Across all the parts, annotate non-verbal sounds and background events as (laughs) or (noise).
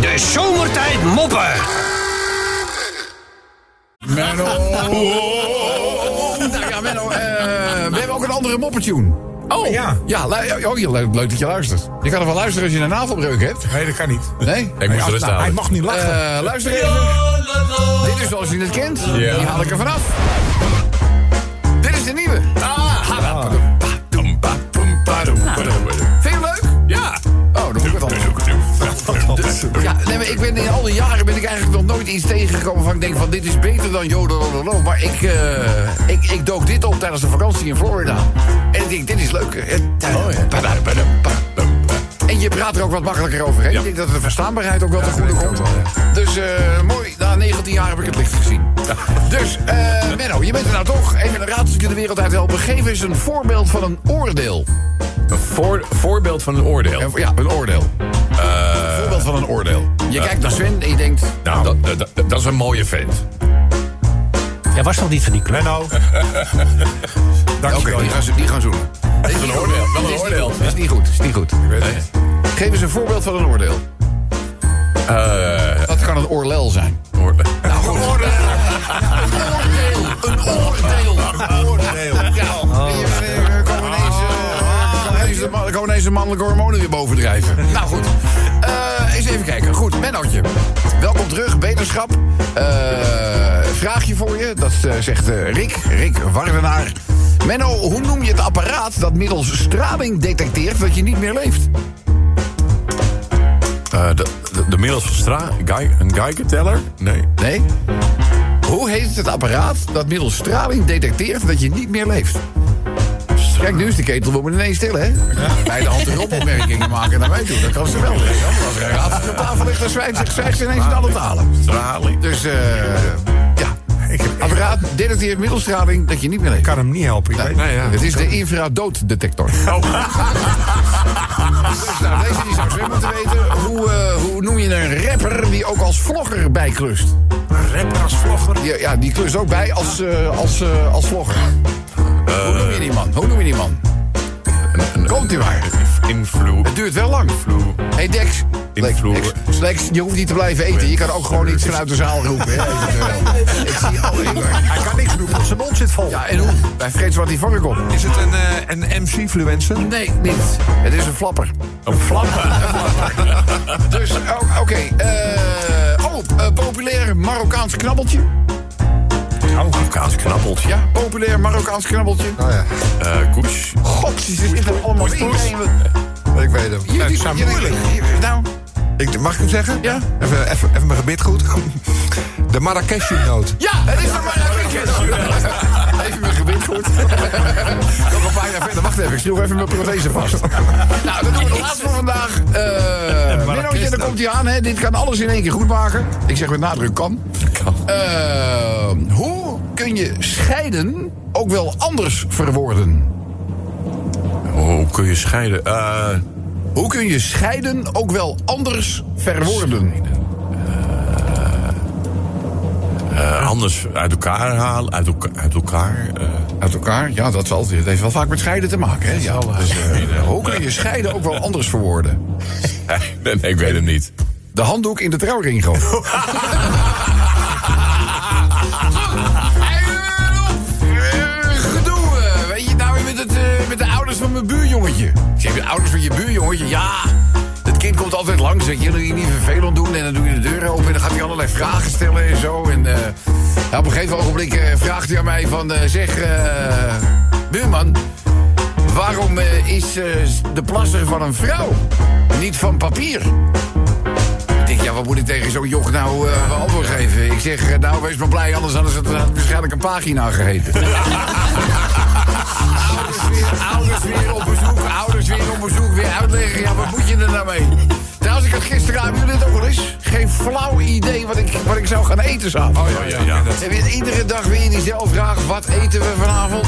De zomertijd moppen. (laughs) Menno. Nou ja, Menno, eh, we hebben ook een andere moppetune. Oh, Ja, ja. ja lu- oh, je- leuk, leuk dat je luistert. Je kan er wel luisteren als je een navelbreuk hebt. Nee, dat kan niet. Nee? Ik moest rust nou, houden. Hij mag niet lachen. Eh, luister even. Dit is zoals je het kent. Die haal ik er vanaf. Dit is de nieuwe. Ah. Nou. Vind je het leuk? Ja. Oh, dan moet ik het anders. Ja, nee, maar ik ben in al die jaren ben ik eigenlijk nog nooit iets tegengekomen van ik denk van dit is beter dan Jodololo. Maar ik, eh, ik, ik dook dit op tijdens een vakantie in Florida. En ik denk, dit is leuk. eh, En je praat er ook wat makkelijker overheen. Ik denk dat de verstaanbaarheid ook wel te goede komt. Dus eh, mooi, na 19 jaar heb ik het licht gezien. Dus, eh Menno, je bent er nou toch. Even een raadseltje de wereld uit helpen. Geef eens een voorbeeld van een oordeel. Een voor- voorbeeld van een oordeel. En- Ja, een oordeel. Een voorbeeld van een oordeel. Je kijkt naar Sven en je denkt... Nou, dat, dat, dat- dat is een mooie vent. Jij was nog niet van die club. Menno. (laughs) Oké, Dankjewel. die, gaan, zo- die gaan (laughs) zoenen. Dat is een oordeel, wel een is niet oordeel. goed, Dat is niet goed. Is niet goed. Geef eens een voorbeeld van een oordeel. dat kan een oorlel zijn. Oordeel. Een oordeel. Een oordeel. Ja. Er komen ineens, eh, komen ineens de man- komen ineens de mannelijke hormonen weer bovendrijven. Nou goed. Eh, eens even kijken. Goed, Mennootje. Welkom terug, beterschap. Eh, vraagje voor je, dat eh, zegt eh, Rick, Rick Wardenaar. Menno, hoe noem je het apparaat dat middels straling detecteert dat je niet meer leeft? Eh, de, de, de middels van Stra... Guy, een Geigerteller? Nee. Nee? Hoe heet het apparaat dat middels straling detecteert dat je niet meer leeft? Kijk, nu is de ketel we moeten ineens stil, hè? Bij de hand erop opmerkingen maken naar mij toe. Dat kan ze wel. hè? Als er een rafel op tafel ligt, dan zwijgt ze, zwijgt ze ineens in alle talen. Straling. Dus, eh ja. Apparaat detecteert middels straling dat je niet meer leeft. Ik kan hem niet helpen. Ik weet- Nee, ja. Het is de infradooddetector. Oh. Dus nou, deze die zou Sven moeten weten. Hoe, eh, hoe noem je een rapper die ook als vlogger bijklust? Een rapper als vlogger. Ja, ja, die klust ook bij als, eh, als, eh, als vlogger. Hoe Eh, noem je die man? Hoe noem je die man? Komt u maar. Influ... Het duurt wel lang. Influ... hey Dex. Lex, Invloer. Lex, Lex, je hoeft niet te blijven eten. Je kan ook gewoon iets vanuit de zaal (laughs) roepen. Hè, eventueel. Ik zie alleen maar. Hij kan niks doen, want zijn mond zit vol. Ja, en hoe? Hij vreet wat die vangen komt. Is het een, eh, een MC-fluencer? Nee, niet. Het is een flapper. Een flappen. Dus, oh, oké. eh, oh, eh, populair Marokkaans knabbeltje. Marokkaans knabbeltje. Ja, populair Marokkaans knabbeltje. Eh, Koes. God, ze zitten er allemaal in. poes. Ik weet hem. Hier, Het die- is hier- moeilijk. hier- Nou, Ik, mag ik hem zeggen? Ja. Even, even, even mijn gebit goed. (laughs) De Marrakesh-noot. Ja, het is nog maar (laughs) een Even mijn gebit (laughs) goed. Nog een paar jaar verder. Wacht even, ik schroef even mijn prothese (laughs) vast. Nou, dat doen we de laatste voor vandaag. Eh Minnootje, daar komt hij aan. Hè. Dit kan alles in één keer goed maken. Ik zeg met nadruk kan. Eh, hoe kun je scheiden ook wel anders verwoorden? Hoe kun je scheiden? Eh... Hoe kun je scheiden ook wel anders verwoorden? eh, anders uit elkaar halen. Uit, elka- uit elkaar. eh, (laughs) Uit elkaar? Ja, dat zal, het heeft wel vaak met scheiden te maken. Hè? Ja, dus, eh, (laughs) hoe kun je scheiden ook wel anders verwoorden? nee, nee, ik weet hem niet. De handdoek in de trouwring gooien. Zo, hey, eh, eh, gedoe, eh, weet je, nou weer met het, eh, met de ouders van mijn buurjongetje. Ik zeg, de ouders van je buurjongetje? Ja, dat kind komt altijd langs. Weet je, dan je niet vervelend doen. En dan doe je de deur open en dan gaat hij allerlei vragen stellen en zo. En eh, nou, op een gegeven ogenblik eh, vraagt hij aan mij van... eh, zeg, eh, buurman, waarom eh, is eh, de plasser van een vrouw niet van papier? Ik denk, ja, wat moet ik tegen zo'n joch nou eh antwoord geven? Ik zeg, eh, nou, wees maar blij, anders hadden ze het had het waarschijnlijk een pagina geheten. ouders, weer, ouders weer op bezoek, ouders weer op bezoek, weer uitleggen. Ja, wat moet je er nou mee? Trouwens, ik had gisteren, hebben jullie dit ook wel eens? Geen flauw idee wat ik, wat ik zou gaan eten s'avonds. Oh, ja, ja. En weer iedere dag weer diezelfde vraag, wat eten we vanavond?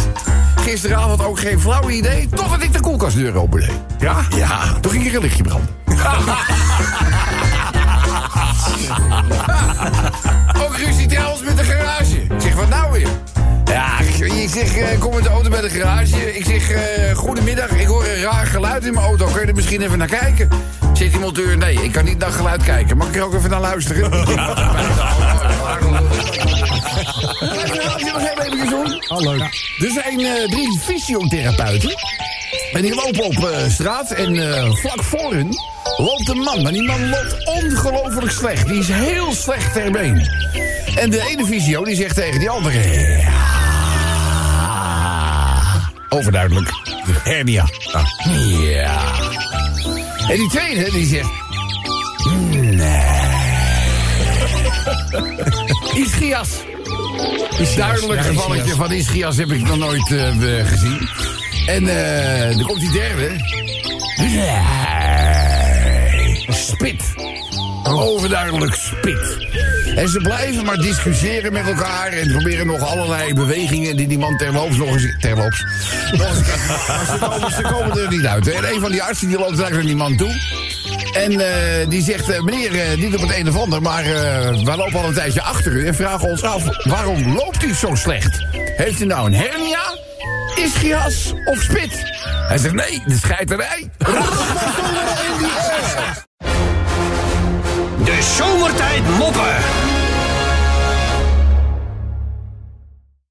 Gisteravond ook geen flauw idee, totdat ik de koelkastdeur opende. Ja? Ja, toen ging er een lichtje branden. (laughs) Ook ruzie trouwens met de garage. Ik zeg, wat nou weer? Ja, ik- ik zeg, eh, kom met de auto bij de de garage. Ik zeg, eh, goedemiddag, ik hoor een raar geluid in mijn auto. Kun je er misschien even naar kijken? Zegt die monteur, nee, ik kan niet naar geluid kijken. Mag ik er ook even naar luisteren? Ja. Oh, Hallo. Er zijn eh, drie fysiotherapeuten. En die lopen op eh, straat en eh, vlak voor hun loopt een man. Maar die man loopt ongelooflijk slecht. Die is heel slecht ter been. En de ene fysio die zegt tegen die andere... "Ja." Overduidelijk. Hernia. Ah. Ja. En die tweede die zegt... (laughs) Nee. Ischias. Duidelijk ja, gevalletje ischias. van Ischias heb ik nog nooit eh, eh, gezien. En eh dan komt die derde. Nee. Spit. Overduidelijk spit. En ze blijven maar discussiëren met elkaar en proberen nog allerlei bewegingen die die man terloops nog eens... Terloops. Nog eens- maar ze komen, ze komen er niet uit. En een van die artsen die loopt eigenlijk naar die man toe. En eh, die zegt, eh, meneer, eh, niet op het een of ander, maar eh wij lopen al een tijdje achter u en vragen ons af, waarom loopt u zo slecht? Heeft u nou een hernia, ischias of spit? Hij zegt, nee, de scheiterij. De zomertijd moppen.